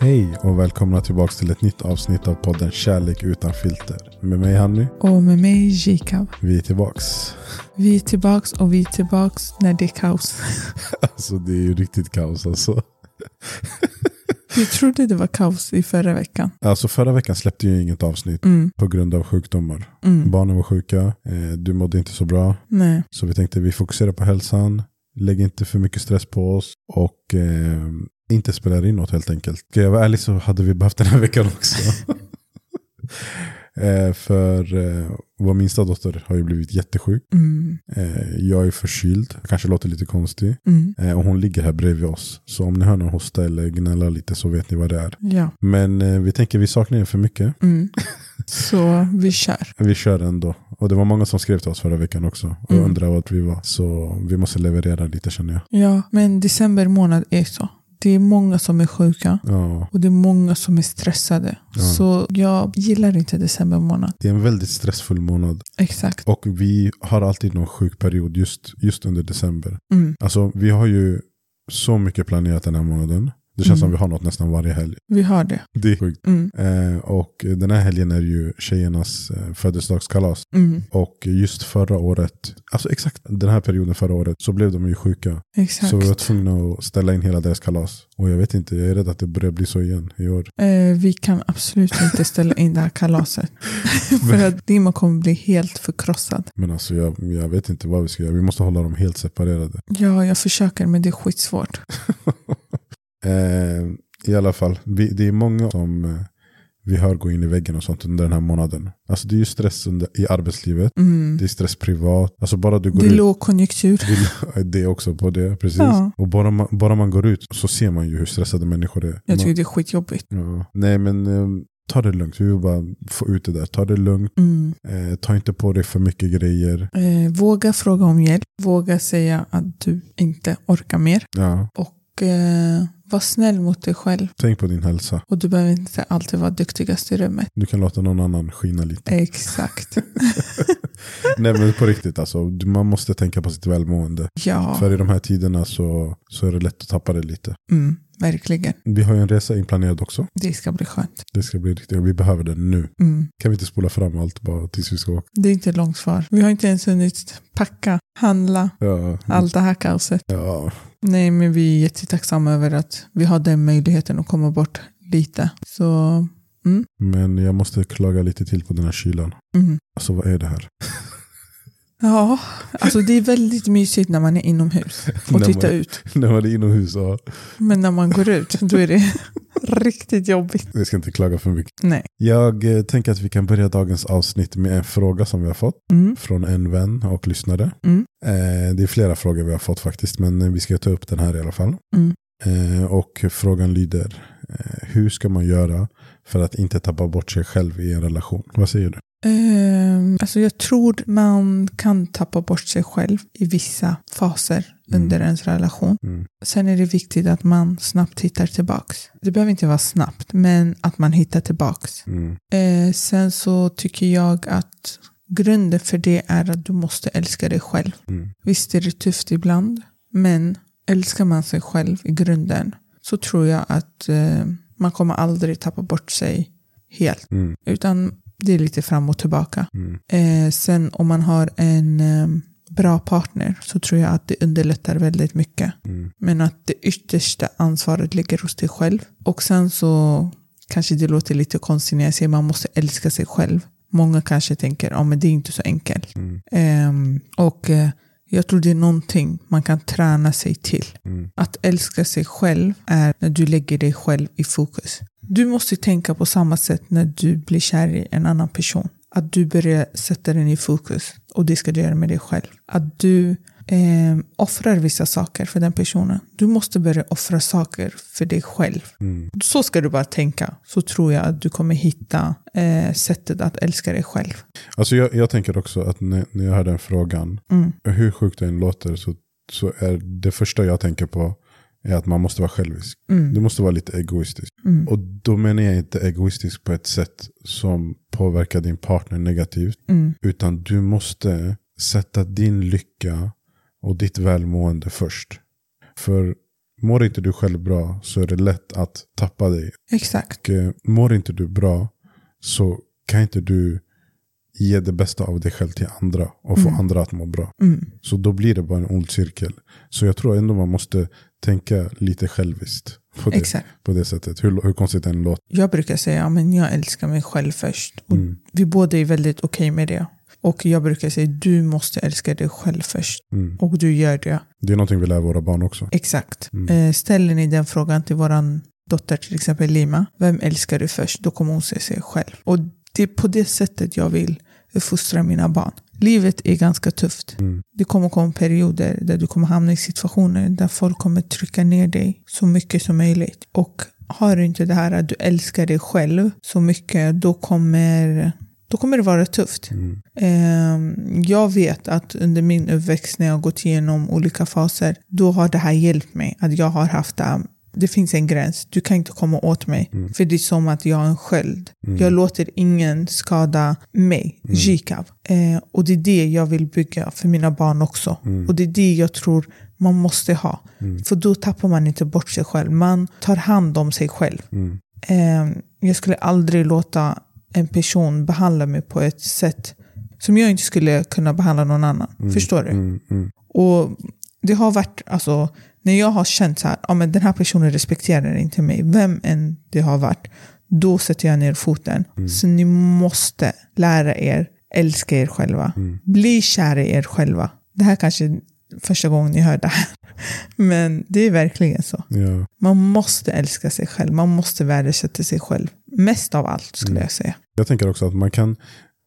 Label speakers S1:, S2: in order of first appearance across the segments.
S1: Hej och välkomna tillbaka till ett nytt avsnitt av podden Kärlek utan filter. Med mig Hanny,
S2: Och med mig Jikab.
S1: vi är tillbaks.
S2: Vi är tillbaks och vi är tillbaks när det är kaos.
S1: Alltså det är ju riktigt kaos alltså.
S2: Vi trodde det var kaos i förra veckan.
S1: Alltså förra veckan släppte jag inget avsnitt
S2: Mm,
S1: på grund av sjukdomar.
S2: mm,
S1: Barnen var sjuka, eh, du mådde inte så bra.
S2: nej.
S1: Så vi tänkte vi fokuserar på hälsan, lägg inte för mycket stress på oss och eh, inte spelar in något helt enkelt. Ska jag vara ärlig så hade vi behövt den här veckan också. eh, för eh, vår minsta dotter har ju blivit jättesjuk.
S2: Mm,
S1: Eh, jag är förkyld, jag kanske låter lite konstig.
S2: mm,
S1: Eh, och hon ligger här bredvid oss. Så om ni hör någon hosta eller gnälla lite så vet ni vad det är.
S2: ja.
S1: Men eh, vi tänker vi saknar er för mycket.
S2: Mm. Så vi kör.
S1: Vi kör ändå. Och det var många som skrev till oss förra veckan också och
S2: Mm.
S1: undrade vart vi var. Så vi måste leverera lite känner jag.
S2: Ja, men december månad är så. Det är många som är sjuka
S1: Ja,
S2: och det är många som är stressade.
S1: Ja.
S2: Så jag gillar inte december månad.
S1: det är en väldigt stressfull månad.
S2: Exakt.
S1: Och vi har alltid någon sjuk period just, just under december.
S2: Mm.
S1: Alltså vi har ju så mycket planerat den här månaden. Det känns
S2: Mm.
S1: som vi har något nästan varje helg.
S2: Vi har det.
S1: Det är sjukt.
S2: Mm,
S1: Eh, och den här helgen är ju tjejernas eh, födelsedagskalas.
S2: mm,
S1: Och just förra året, alltså exakt den här perioden förra året, så blev de ju sjuka.
S2: exakt.
S1: Så vi var tvungna att ställa in hela deras kalas. Och jag vet inte, jag är rädd att det börjar bli så igen i år.
S2: Eh, vi kan absolut inte ställa in det här kalaset. För att Dima kommer bli helt förkrossad.
S1: Men alltså jag, jag vet inte vad vi ska göra. Vi måste hålla dem helt separerade.
S2: Ja, jag försöker men det är skitsvårt.
S1: Eh, I alla fall, vi, det är många som eh, vi hör gå in i väggen och sånt under den här månaden. Alltså det är ju stress under, i arbetslivet.
S2: Mm.
S1: Det är stress privat. Alltså bara du går
S2: Det är
S1: ut.
S2: lågkonjunktur.
S1: Det- Det är också på det, precis.
S2: Ja.
S1: Och bara man, bara man går ut så ser man ju hur stressade människor är.
S2: Jag
S1: Man-
S2: tycker det är skitjobbigt.
S1: Ja. Nej men eh, ta det lugnt, vi vill bara få ut det där. Ta det lugnt,
S2: Mm.
S1: eh, ta inte på dig för mycket grejer.
S2: Eh, våga fråga om hjälp. Våga säga att du inte orkar mer.
S1: Ja.
S2: Och eh, var snäll mot dig själv.
S1: Tänk på din hälsa,
S2: Och du behöver inte alltid vara duktigast i rummet.
S1: du kan låta någon annan skina lite.
S2: Exakt.
S1: Nej men på riktigt alltså, Du- man måste tänka på sitt välmående.
S2: Ja,
S1: För i de här tiderna så, så är det lätt att tappa det lite.
S2: mm, verkligen.
S1: Vi har ju en resa inplanerad också,
S2: Det ska bli skönt.
S1: det ska bli riktigt, vi behöver den nu.
S2: Mm.
S1: Kan vi inte spola fram allt bara tills vi ska åka?
S2: Det är inte ett långt svar. Vi har inte ens hunnit packa, handla,
S1: Ja,
S2: allt det här kaoset.
S1: ja.
S2: Nej, men vi är jättetacksamma över att vi har den möjligheten att komma bort lite. Så,
S1: Men jag måste klaga lite till på den här kylan.
S2: mm.
S1: Alltså vad är det här?
S2: ja, alltså det är väldigt mysigt när man är inomhus och
S1: När man-
S2: tittar ut.
S1: När man är inomhus, ja.
S2: Men när man går ut, då är det riktigt jobbigt.
S1: Jag ska inte klaga för mycket.
S2: Nej.
S1: Jag eh, tänker att vi kan börja dagens avsnitt med en fråga som vi har fått
S2: Mm.
S1: från en vän och lyssnare.
S2: Mm.
S1: Eh, det är flera frågor vi har fått faktiskt, men eh, vi ska ta upp den här i alla fall.
S2: Mm.
S1: Eh, och frågan lyder, eh, hur ska man göra för att inte tappa bort sig själv i en relation? Vad säger du?
S2: Ehm, alltså jag tror man kan tappa bort sig själv i vissa faser
S1: Mm.
S2: under ens relation.
S1: Mm.
S2: Sen är det viktigt att man snabbt hittar tillbaks. Det behöver inte vara snabbt, men att man hittar tillbaks.
S1: Mm.
S2: Eh, sen så tycker jag att grunden för det är att du måste älska dig själv.
S1: Mm.
S2: Visst är det tufft ibland, men älskar man sig själv i grunden så tror jag att eh, man kommer aldrig tappa bort sig helt.
S1: Mm.
S2: Utan det är lite fram och tillbaka.
S1: Mm.
S2: Eh, sen om man har en eh, bra partner så tror jag att det underlättar väldigt mycket.
S1: Mm.
S2: Men att det yttersta ansvaret ligger hos dig själv. Och sen så kanske det låter lite konstigt när jag säger man måste älska sig själv. Många kanske tänker ja men det är inte så enkelt.
S1: Mm.
S2: Ehm, och eh, jag tror det är någonting man kan träna sig till.
S1: Mm.
S2: Att älska sig själv är när du lägger dig själv i fokus. Du måste tänka på samma sätt när du blir kär i en annan person. Att du börjar sätta den i fokus och det ska du göra med dig själv. Att du eh, offrar vissa saker för den personen. Du måste börja offra saker för dig själv.
S1: Mm.
S2: Så ska du bara tänka. Så tror jag att du kommer hitta eh, sättet att älska dig själv.
S1: Alltså jag, jag tänker också att när, när jag hör den frågan,
S2: Mm.
S1: hur sjukt det än låter så, så är det första jag tänker på är att man måste vara självisk.
S2: Mm.
S1: Du måste vara lite egoistisk.
S2: Mm.
S1: Och då menar jag inte egoistisk på ett sätt som påverkar din partner negativt.
S2: Mm.
S1: Utan du måste sätta din lycka och ditt välmående först. För Mår inte du själv bra så är det lätt att tappa dig.
S2: Exakt.
S1: Och, eh, mår inte du bra så kan inte du ge det bästa av dig själv till andra och få
S2: Mm.
S1: andra att må bra.
S2: Mm.
S1: Så då blir det bara en ond cirkel. Så jag tror ändå man måste tänka lite själviskt på det,
S2: Exakt.
S1: på det sättet. Hur, hur konstigt det än låter.
S2: Jag brukar säga att jag älskar mig själv först. Och
S1: Mm.
S2: Vi båda är väldigt okej med det. Och jag brukar säga du måste älska dig själv först.
S1: Mm.
S2: Och du gör det.
S1: Det är någonting vi lär våra barn också.
S2: Exakt.
S1: Mm.
S2: Eh, ställer ni den frågan till våran dotter, till exempel Lima, vem älskar du först? Då kommer hon säga sig själv. Och det är på det sättet jag vill fostra mina barn. Livet är ganska tufft.
S1: Mm.
S2: Det kommer komma perioder där du kommer hamna i situationer där folk kommer trycka ner dig så mycket som möjligt. Och har du inte det här att du älskar dig själv så mycket, då kommer, då kommer det vara tufft.
S1: Mm.
S2: Ehm, Jag vet att under min uppväxt när jag gått igenom olika faser, då har det här hjälpt mig. Att jag har haft det här, det finns en gräns, du kan inte komma åt mig. För det är som att jag har en sköld. Jag låter ingen skada mig, Jikav. Eh, och det är det jag vill bygga för mina barn också. Och det är det jag tror man måste ha. För då tappar man inte bort sig själv, man tar hand om sig själv.
S1: mm,
S2: Eh, jag skulle aldrig låta en person behandla mig på ett sätt som jag inte skulle kunna behandla någon annan. Förstår du?
S1: Mm, mm,
S2: Och det har varit, alltså, när jag har känt så här, ja men den här personen respekterar inte mig, vem än det har varit, då sätter jag ner foten.
S1: Mm.
S2: Så ni måste lära er, älska er själva.
S1: Mm.
S2: Bli kära i er själva. Det här kanske är första gången ni hör det här. Men det är verkligen så.
S1: ja.
S2: Man måste älska sig själv. Man måste värdesätta sig själv. Mest av allt skulle jag säga.
S1: Jag tänker också att man kan,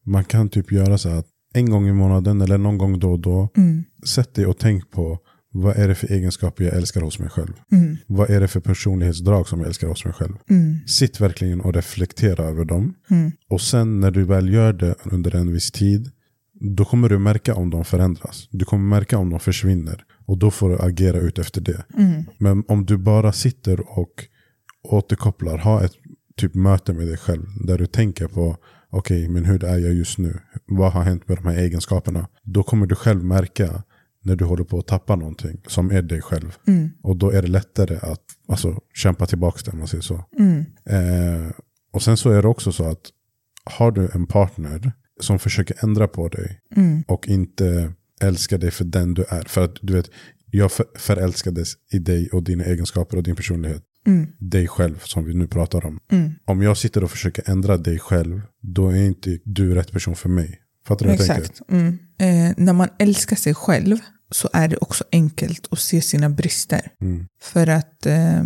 S1: man kan typ göra så här att en gång i månaden eller någon gång då och då,
S2: Mm,
S1: sätt dig och tänk på vad är det för egenskaper jag älskar hos mig själv? Vad är det för personlighetsdrag som jag älskar hos mig själv? Sitt verkligen och reflektera över dem. Och sen när du väl gör det under en viss tid, då kommer du märka om de förändras. Du kommer märka om de försvinner. Och då får du agera ut efter det. Men om du bara sitter och återkopplar, ha ett typ möte med dig själv där du tänker på okej, men hur är jag just nu? Vad har hänt med de här egenskaperna? Då kommer du själv märka när du håller på att tappa någonting som är dig själv. Och då är det lättare att alltså, kämpa tillbaka det om man säger så.
S2: mm,
S1: Eh, och sen så är det också så att har du en partner som försöker ändra på dig och inte älskar dig för den du är. För att du vet, jag för- förälskades i dig och dina egenskaper och din personlighet.
S2: mm,
S1: Dig själv som vi nu pratar om. Om jag sitter och försöker ändra dig själv, då är inte du rätt person för mig. Fattar du vad jag tänker?
S2: Exakt. Mm. Eh, när man älskar sig själv så är det också enkelt att se sina brister.
S1: Mm,
S2: För att eh,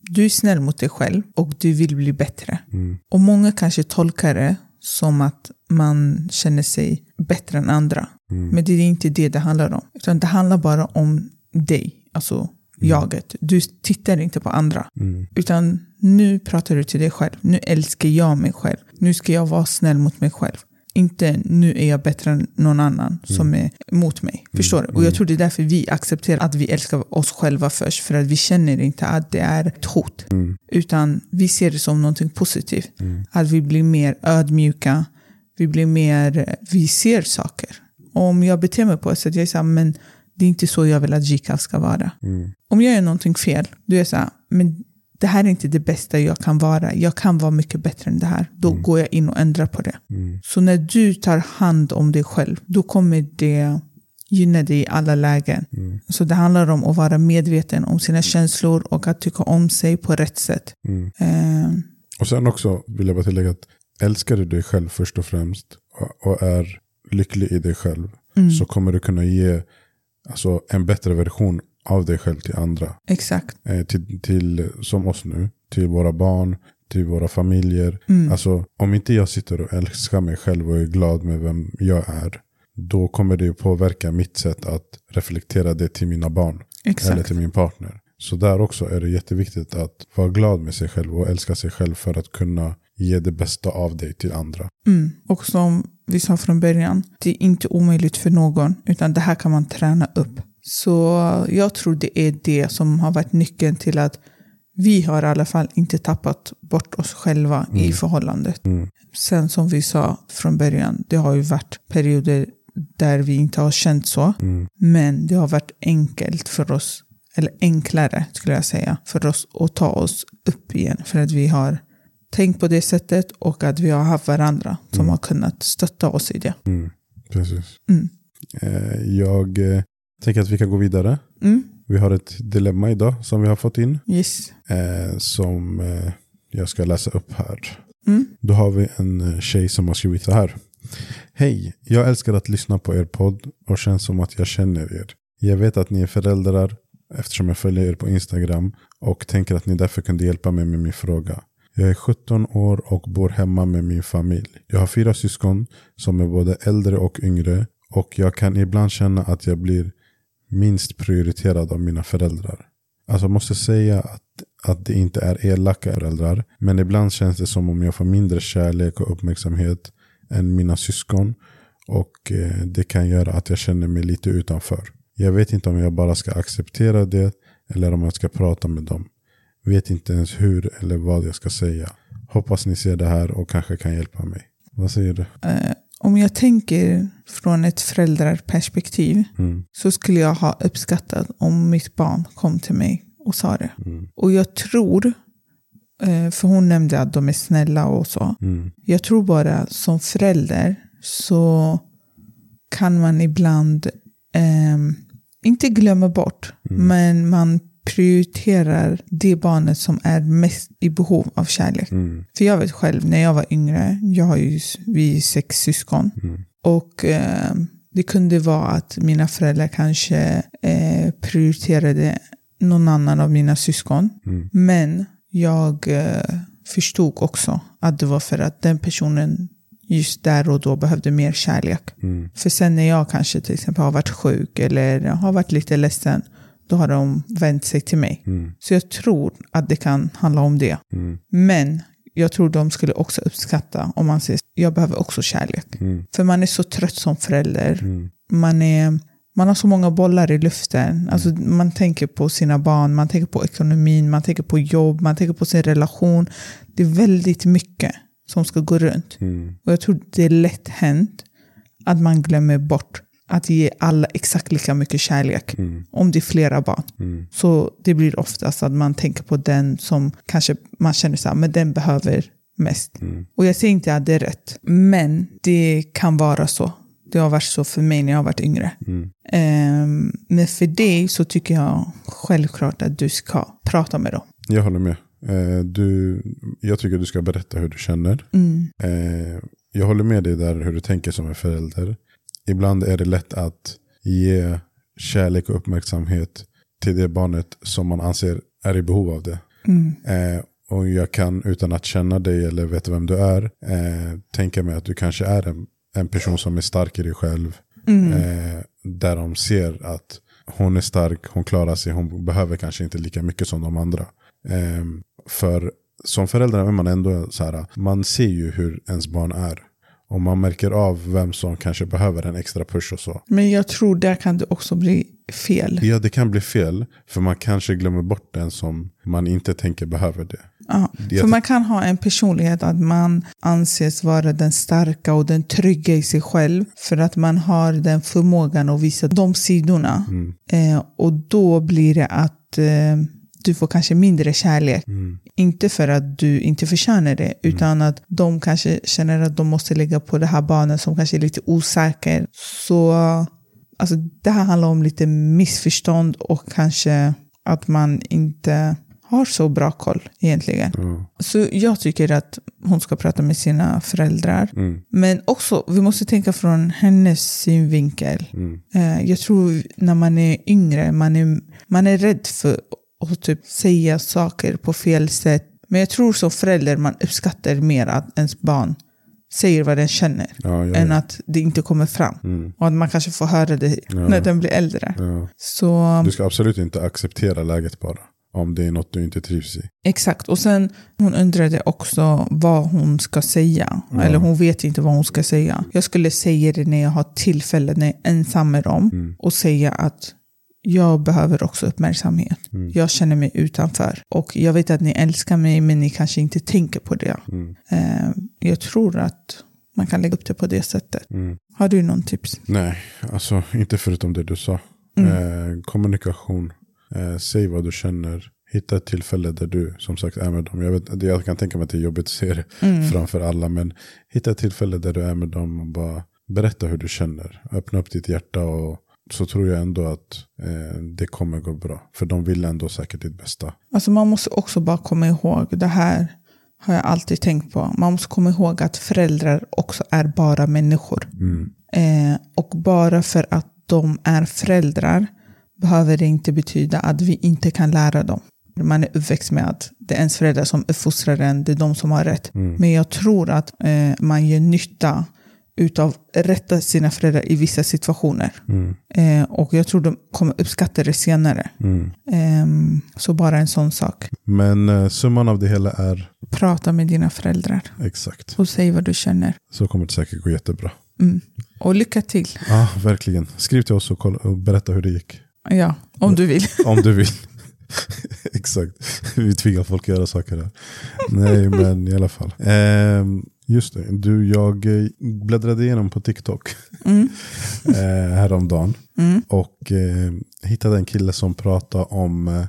S2: du är snäll mot dig själv och du vill bli bättre.
S1: mm,
S2: Och många kanske tolkar det som att man känner sig bättre än andra.
S1: mm,
S2: Men det är inte det det handlar om. Utan det handlar bara om dig, alltså jaget. Du tittar inte på andra.
S1: mm,
S2: Utan nu pratar du till dig själv. Nu älskar jag mig själv. Nu ska jag vara snäll mot mig själv. Inte nu är jag bättre än någon annan som är mot mig. Förstår du? Och jag tror det är därför vi accepterar att vi älskar oss själva först. För att vi känner inte att det är ett hot. Utan vi ser det som någonting positivt. Att vi blir mer ödmjuka. Vi blir mer, vi ser saker. Om jag beter mig på ett sätt, jag är så här, men det är inte så jag vill att Jikav ska vara.
S1: mm,
S2: Om jag gör någonting fel, då är jag så här, men det här är inte det bästa jag kan vara. Jag kan vara mycket bättre än det här. Då går jag in och ändrar på det.
S1: mm,
S2: Så när du tar hand om dig själv, då kommer det gynna dig i alla lägen. Så det handlar om att vara medveten om sina känslor och att tycka om sig på rätt sätt. Eh,
S1: mm. Och sen också vill jag bara tillägga att älskar du dig själv först och främst och- och är lycklig i dig själv
S2: Mm.
S1: så kommer du kunna ge alltså, en bättre version av dig själv till andra.
S2: exakt.
S1: Eh, till, till, som oss nu, till våra barn, till våra familjer.
S2: Mm.
S1: Alltså om inte jag sitter och älskar mig själv och är glad med vem jag är då kommer det ju påverka mitt sätt att reflektera det till mina barn eller
S2: exakt.
S1: till min partner. Så där också är det jätteviktigt att vara glad med sig själv och älska sig själv för att kunna ge det bästa av dig till andra.
S2: Mm. Och som vi sa från början, det är inte omöjligt för någon, utan det här kan man träna upp. Så jag tror det är det som har varit nyckeln till att vi har i alla fall inte tappat bort oss själva i förhållandet.
S1: Mm,
S2: Sen som vi sa från början, det har ju varit
S1: mm,
S2: perioder där vi inte har känt så, men det har varit enkelt för oss eller enklare skulle jag säga, för oss att ta oss upp igen. För att vi har tänkt på det sättet och att vi har haft varandra som
S1: Mm.
S2: har kunnat stötta oss i det.
S1: Mm, precis.
S2: Mm.
S1: Eh, jag eh, tänker att vi kan gå vidare.
S2: Mm.
S1: Vi har ett dilemma idag som vi har fått in.
S2: Yes.
S1: Eh, som eh, jag ska läsa upp här.
S2: Mm.
S1: Då har vi en eh, tjej som har skrivit så här. Hej, jag älskar att lyssna på er podd och känns som att jag känner er. Jag vet att ni är föräldrar eftersom jag följer er på Instagram och tänker att ni därför kunde hjälpa mig med min fråga. Jag är 17 år och bor hemma med min familj. Jag har fyra syskon som är både äldre och yngre och jag kan ibland känna att jag blir minst prioriterad av mina föräldrar. Alltså jag måste säga att, att det inte är elaka föräldrar. Men ibland känns det som om jag får mindre kärlek och uppmärksamhet än mina syskon. Och eh, det kan göra att jag känner mig lite utanför. Jag vet inte om jag bara ska acceptera det eller om jag ska prata med dem. Vet inte ens hur eller vad jag ska säga. Hoppas ni ser det här och kanske kan hjälpa mig. Vad säger du?
S2: Om jag tänker från ett föräldraperspektiv
S1: Mm,
S2: så skulle jag ha uppskattat om mitt barn kom till mig och sa det.
S1: mm,
S2: Och jag tror, eh, för hon nämnde att de är snälla och så.
S1: mm,
S2: Jag tror bara som förälder så kan man ibland, ehm, inte glömma bort,
S1: Mm.
S2: men man prioriterar det barnet som är mest i behov av kärlek.
S1: mm,
S2: För jag vet själv, när jag var yngre, jag har ju, vi är sex syskon.
S1: mm,
S2: Och eh, det kunde vara att mina föräldrar kanske eh, prioriterade någon annan av mina syskon.
S1: mm,
S2: Men jag eh, förstod också att det var för att den personen just där och då behövde mer kärlek.
S1: mm,
S2: För sen när jag kanske till exempel har varit sjuk eller har varit lite ledsen, då har de vänt sig till mig.
S1: mm,
S2: Så jag tror att det kan handla om det.
S1: mm,
S2: Men jag tror de skulle också uppskatta om man säger jag behöver också kärlek.
S1: mm,
S2: För man är så trött som förälder.
S1: mm,
S2: Man, är, man har så många bollar i luften. Alltså, man tänker på sina barn, man tänker på ekonomin, man tänker på jobb, man tänker på sin relation. Det är väldigt mycket som ska gå runt.
S1: mm,
S2: Och jag tror det är lätt hänt att man glömmer bort att ge alla exakt lika mycket kärlek.
S1: mm,
S2: Om det är flera barn.
S1: mm.
S2: Så det blir oftast att man tänker på den som kanske man känner så här, men den behöver mest.
S1: Mm.
S2: Och jag säger inte att det är rätt, men det kan vara så. Det har varit så för mig när jag har varit yngre.
S1: Mm.
S2: Ehm, men för dig så tycker jag självklart att du ska prata med dem.
S1: Jag håller med. Eh, du, jag tycker du ska berätta hur du känner.
S2: Mm,
S1: Eh, jag håller med dig där hur du tänker som en förälder. Ibland är det lätt att ge kärlek och uppmärksamhet till det barnet som man anser är i behov av det.
S2: mm,
S1: Eh, och jag kan utan att känna dig eller veta vem du är eh, tänka mig att du kanske är en, en person som är stark i dig själv.
S2: mm,
S1: Eh, där de ser att hon är stark, hon klarar sig, hon behöver kanske inte lika mycket som de andra. Eh, för som förälder är man ändå så här, man ser ju hur ens barn är. Och man märker av vem som kanske behöver en extra push och så.
S2: Men jag tror där kan det också bli fel.
S1: Ja, det kan bli fel, för man kanske glömmer bort den som man inte tänker behöver det.
S2: Ja,
S1: Det-
S2: för man kan ha en personlighet att man anses vara den starka och den trygga i sig själv för att man har den förmågan att visa de sidorna.
S1: Mm.
S2: Eh, och då blir det att eh, du får kanske mindre kärlek. Inte för att du inte förtjänar det, utan att de kanske känner att de måste lägga på det här barnet som kanske är lite osäker. Så alltså, det här handlar om lite missförstånd och kanske att man inte har så bra koll egentligen.
S1: Ja.
S2: Så jag tycker att hon ska prata med sina föräldrar.
S1: Mm.
S2: Men också, vi måste tänka från hennes synvinkel.
S1: Mm.
S2: Eh, Jag tror när man är yngre, man är, man är rädd för att typ säga saker på fel sätt. Men jag tror som förälder man uppskattar mer att ens barn säger vad den känner.
S1: Ja, ja,
S2: Än
S1: ja.
S2: att det inte kommer fram.
S1: Mm.
S2: Och att man kanske får höra det
S1: Ja.
S2: när den blir äldre.
S1: Ja.
S2: Så...
S1: Du ska absolut inte acceptera läget bara. Om det är något du inte trivs i.
S2: Exakt, och sen hon undrade också vad hon ska säga. Eller hon vet inte vad hon ska säga. Jag skulle säga det när jag har tillfälle, när jag är ensam med dem.
S1: Mm.
S2: Och säga att jag behöver också uppmärksamhet.
S1: Mm.
S2: Jag känner mig utanför. Och jag vet att ni älskar mig, men ni kanske inte tänker på det.
S1: Mm.
S2: Eh, jag tror att man kan lägga upp det på det sättet.
S1: Mm.
S2: Har du någon tips?
S1: Nej, alltså inte förutom det du sa. Eh, kommunikation. Eh, säg vad du känner. Hitta ett tillfälle där du som sagt är med dem. Jag, vet, det- jag kan tänka mig att det är jobbigt att se det framför alla. Men hitta ett tillfälle där du är med dem och bara berätta hur du känner. Öppna upp ditt hjärta och så tror jag ändå att eh, det kommer gå bra. För de vill ändå säkert ditt bästa.
S2: Alltså man måste också bara komma ihåg, det här har jag alltid tänkt på, man måste komma ihåg att föräldrar också är bara människor. Eh, och bara för att de är föräldrar behöver det inte betyda att vi inte kan lära dem. Man är uppväxt med att det är ens föräldrar som uppfostrar en, det är de som har rätt. Men jag tror att eh, man gör nytta utav rätta sina föräldrar i vissa situationer.
S1: Mm,
S2: Eh, och jag tror de kommer uppskatta det senare. Ehm, så bara en sån sak.
S1: mm. Men eh, summan av det hela är
S2: Prata med dina föräldrar
S1: exakt.
S2: och säg vad du känner.
S1: Så kommer det säkert gå jättebra.
S2: Mm. Och lycka till.
S1: Ja, verkligen. Skriv till oss och, kolla, och berätta hur det gick.
S2: Ja, om du vill.
S1: Om du vill. Exakt. Vi tvingar folk att göra saker här. Nej, men i alla fall. Ehm, just det. Du, jag eh, bläddrade igenom på TikTok
S2: Mm.
S1: eh, häromdagen.
S2: Mm.
S1: Och eh, hittade en kille som pratade om eh,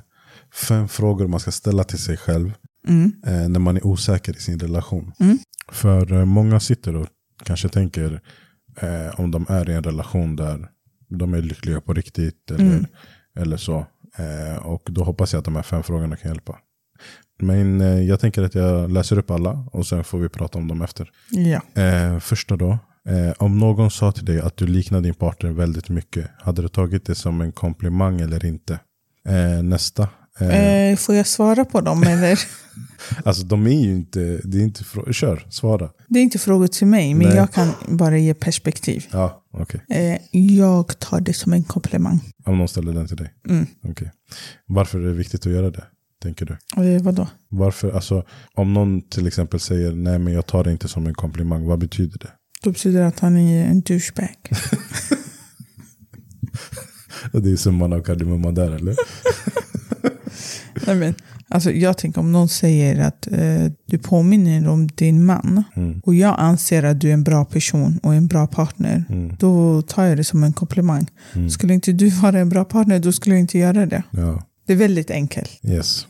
S1: fem frågor man ska ställa till sig själv
S2: Mm.
S1: eh, när man är osäker i sin relation.
S2: Mm.
S1: För eh, många sitter och kanske tänker eh, om de är i en relation där de är lyckliga på riktigt eller,
S2: Mm.
S1: eller så. Eh, och då hoppas jag att de här fem frågorna kan hjälpa. Men eh, jag tänker att jag läser upp alla och sen får vi prata om dem efter.
S2: Ja.
S1: Eh, första då. Eh, om någon sa till dig att du liknar din partner väldigt mycket, hade du tagit det som en komplimang eller inte? Eh, nästa. Eh,
S2: Eh, får jag svara på dem eller?
S1: Alltså de är ju inte, det är inte frå- kör, svara.
S2: Det är inte frågor till mig, men
S1: Nej.
S2: jag kan bara ge perspektiv.
S1: Ja, okej.
S2: Eh, jag tar det som en komplimang.
S1: Om någon ställer den till dig.
S2: Mm.
S1: Okej. Varför är det viktigt att göra det, tänker du?
S2: Eh, vadå?
S1: Varför, alltså om någon till exempel säger nej men jag tar det inte som en komplimang, vad betyder det?
S2: Det betyder att han är en douchebag.
S1: Det är summan av kardemumman där eller?
S2: Nej, men, alltså, jag tänker om någon säger att eh, du påminner om din man
S1: Mm.
S2: och jag anser att du är en bra person och en bra partner.
S1: Mm.
S2: Då tar jag det som en komplimang.
S1: Mm.
S2: Skulle inte du vara en bra partner, då skulle jag inte göra det.
S1: Ja,
S2: Det är väldigt enkelt.
S1: yes.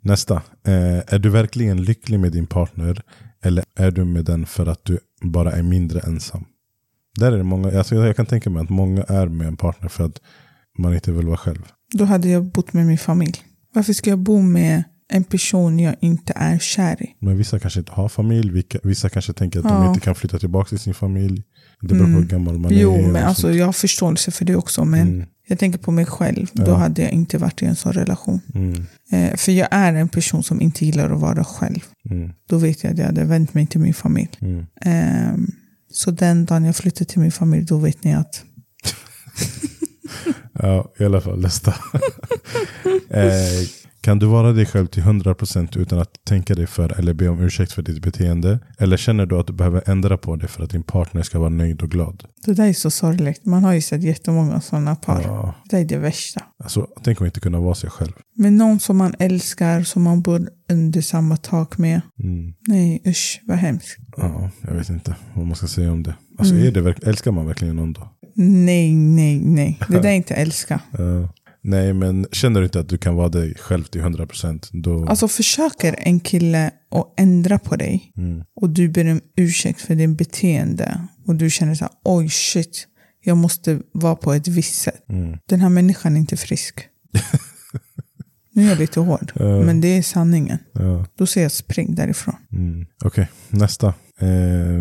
S1: Nästa. Eh, är du verkligen lycklig med din partner eller är du med den för att du bara är mindre ensam? Där är det många, alltså jag kan tänka mig att många är med en partner för att man inte vill vara själv.
S2: Då hade jag bott med min familj. Varför ska jag bo med en person jag inte är kär i?
S1: Men vissa kanske inte har familj, vilka- vissa kanske tänker att de
S2: Ja. Mm.
S1: inte kan flytta tillbaka till sin familj. Det beror på hur gammal man är.
S2: jo,
S1: och
S2: men alltså,
S1: sånt.
S2: jag har förståelse för det också. Men
S1: Mm.
S2: jag tänker på mig själv. Då
S1: Ja.
S2: hade jag inte varit i en sån relation.
S1: Mm,
S2: Eh, för jag är en person som inte gillar att vara själv.
S1: mm,
S2: Då vet jag att jag hade vänt mig till min familj.
S1: mm.
S2: Ehm, så den dagen jag flyttar till min familj, då vet ni att...
S1: Ja, i alla fall nästa. eh, kan du vara dig själv till 100% utan att tänka dig för eller be om ursäkt för ditt beteende? Eller känner du att du behöver ändra på det för att din partner ska vara nöjd och glad?
S2: Det där är så sorgligt. Man har ju sett jättemånga sådana par.
S1: Ja,
S2: Det är det värsta.
S1: alltså, tänk om inte kunna vara sig själv.
S2: Men någon som man älskar, som man bor under samma tak med.
S1: Mm.
S2: Nej, usch, vad hemskt.
S1: Ja, jag vet inte vad man ska säga om det. Alltså,
S2: Mm.
S1: är det verk- älskar man verkligen någon då?
S2: Nej, nej, nej. Det där är inte älska.
S1: Ja. Eh, nej, men känner du inte att du kan vara dig själv till 100% då...
S2: Alltså försöker en kille att ändra på dig
S1: Mm,
S2: och du ber om ursäkt för din beteende och du känner så här, oj shit, jag måste vara på ett visst sätt.
S1: mm.
S2: Den här människan är inte frisk. nu är jag lite hård,
S1: Ja.
S2: men det är sanningen.
S1: Eh, Ja,
S2: Då säger jag spring därifrån.
S1: mm. Okej, nästa. Eh,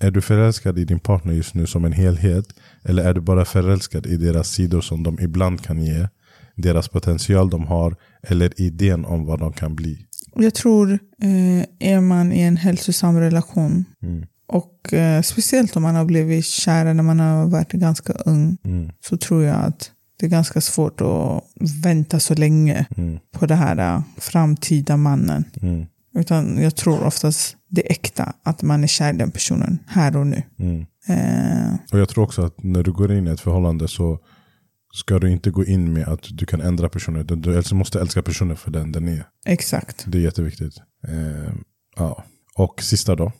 S1: är du förälskad i din partner just nu som en helhet? Eller är du bara förälskad i deras sidor som de ibland kan ge? Deras potential de har eller idén om vad de kan bli?
S2: Jag tror, eh, är man i en hälsosam relation
S1: Mm,
S2: och eh, speciellt om man har blivit kära när man har varit ganska ung
S1: mm,
S2: så tror jag att det är ganska svårt att vänta så länge
S1: mm,
S2: på det här eh, framtida mannen.
S1: mm,
S2: Utan jag tror oftast det är äkta, att man är kär i den personen här och nu.
S1: mm.
S2: Eh,
S1: Och jag tror också att när du går in i ett förhållande så ska du inte gå in med att du kan ändra personer. Du- Du alltså måste älska personen för den den är.
S2: exakt.
S1: Det är jätteviktigt. Eh, ja. Och sista då.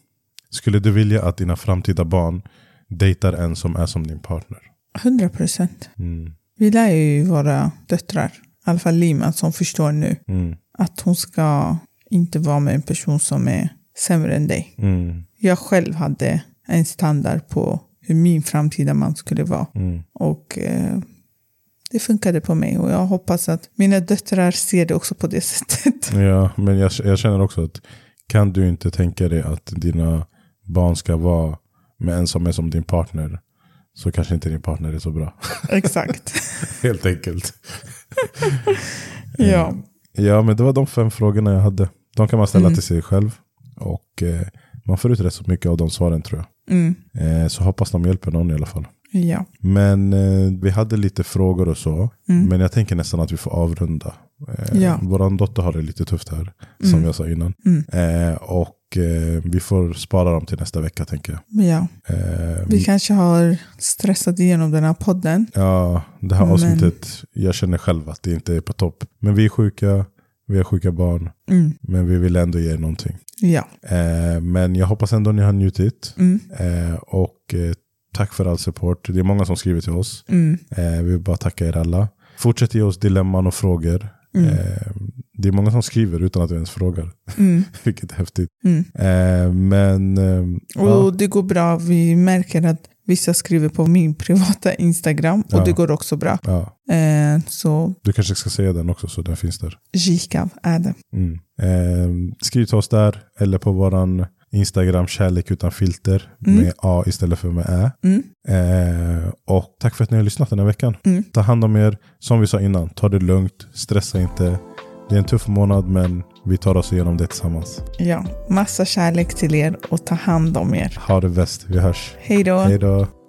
S1: Skulle du vilja att dina framtida barn dejtar en som är som din partner?
S2: 100 procent.
S1: Mm.
S2: Vi lär ju våra döttrar, i alla fall Lima som förstår nu,
S1: Mm.
S2: att hon ska inte vara med en person som är sämre än dig.
S1: Mm.
S2: Jag själv hade en standard på hur min framtida man skulle vara.
S1: Mm.
S2: Och eh, det funkade på mig och jag hoppas att mina döttrar ser det också på det sättet.
S1: Ja, men jag, jag känner också att kan du inte tänka dig att dina barn ska vara med en som är som din partner så kanske inte din partner är så bra.
S2: Exakt.
S1: Helt enkelt.
S2: ja.
S1: Ja, men det var de fem frågorna jag hade. De kan man ställa
S2: Mm.
S1: till sig själv. Och eh, man får ut rätt så mycket av de svaren tror jag.
S2: Mm.
S1: Eh, så hoppas de hjälper någon i alla fall.
S2: Ja.
S1: Men eh, vi hade lite frågor och så.
S2: Mm.
S1: Men jag tänker nästan att vi får avrunda. Eh,
S2: Ja.
S1: Vår dotter har det lite tufft här, som
S2: Mm.
S1: jag sa innan.
S2: Mm.
S1: Eh, och eh, vi får spara dem till nästa vecka tänker jag.
S2: ja.
S1: Eh,
S2: Vi kanske har stressat igenom den här podden.
S1: Ja, det här
S2: Men-
S1: avsnittet, jag känner själv att det inte är på topp. Men vi är sjuka, vi har sjuka barn,
S2: Mm.
S1: men vi vill ändå ge er någonting.
S2: Ja.
S1: Eh, men jag hoppas ändå ni har njutit.
S2: Mm.
S1: Eh, och eh, tack för all support. Det är många som skriver till oss.
S2: Mm.
S1: Eh, vi vill bara tacka er alla. Fortsätt ge oss dilemman och frågor.
S2: Mm.
S1: Eh, det är många som skriver utan att vi ens frågar,
S2: Mm.
S1: vilket är häftigt.
S2: Mm.
S1: Eh, men eh, ja,
S2: Och det går bra. Vi märker att vissa skriver på min privata Instagram och
S1: Ja.
S2: det går också bra.
S1: ja,
S2: Eh, så
S1: du kanske ska säga den också så den finns där.
S2: Gikav är det.
S1: Mm. Eh, skriv till oss där eller på våran Instagram kärlek utan filter
S2: Mm.
S1: med A istället för med Ä.
S2: Mm.
S1: Eh, och tack för att ni har lyssnat den här veckan.
S2: Mm.
S1: Ta hand om er. Som vi sa innan, ta det lugnt. Stressa inte. Det är en tuff månad men vi tar oss igenom det tillsammans.
S2: Ja. Massa kärlek till er och ta hand om er.
S1: Ha det bäst. Vi hörs.
S2: Hej då.
S1: Hej då.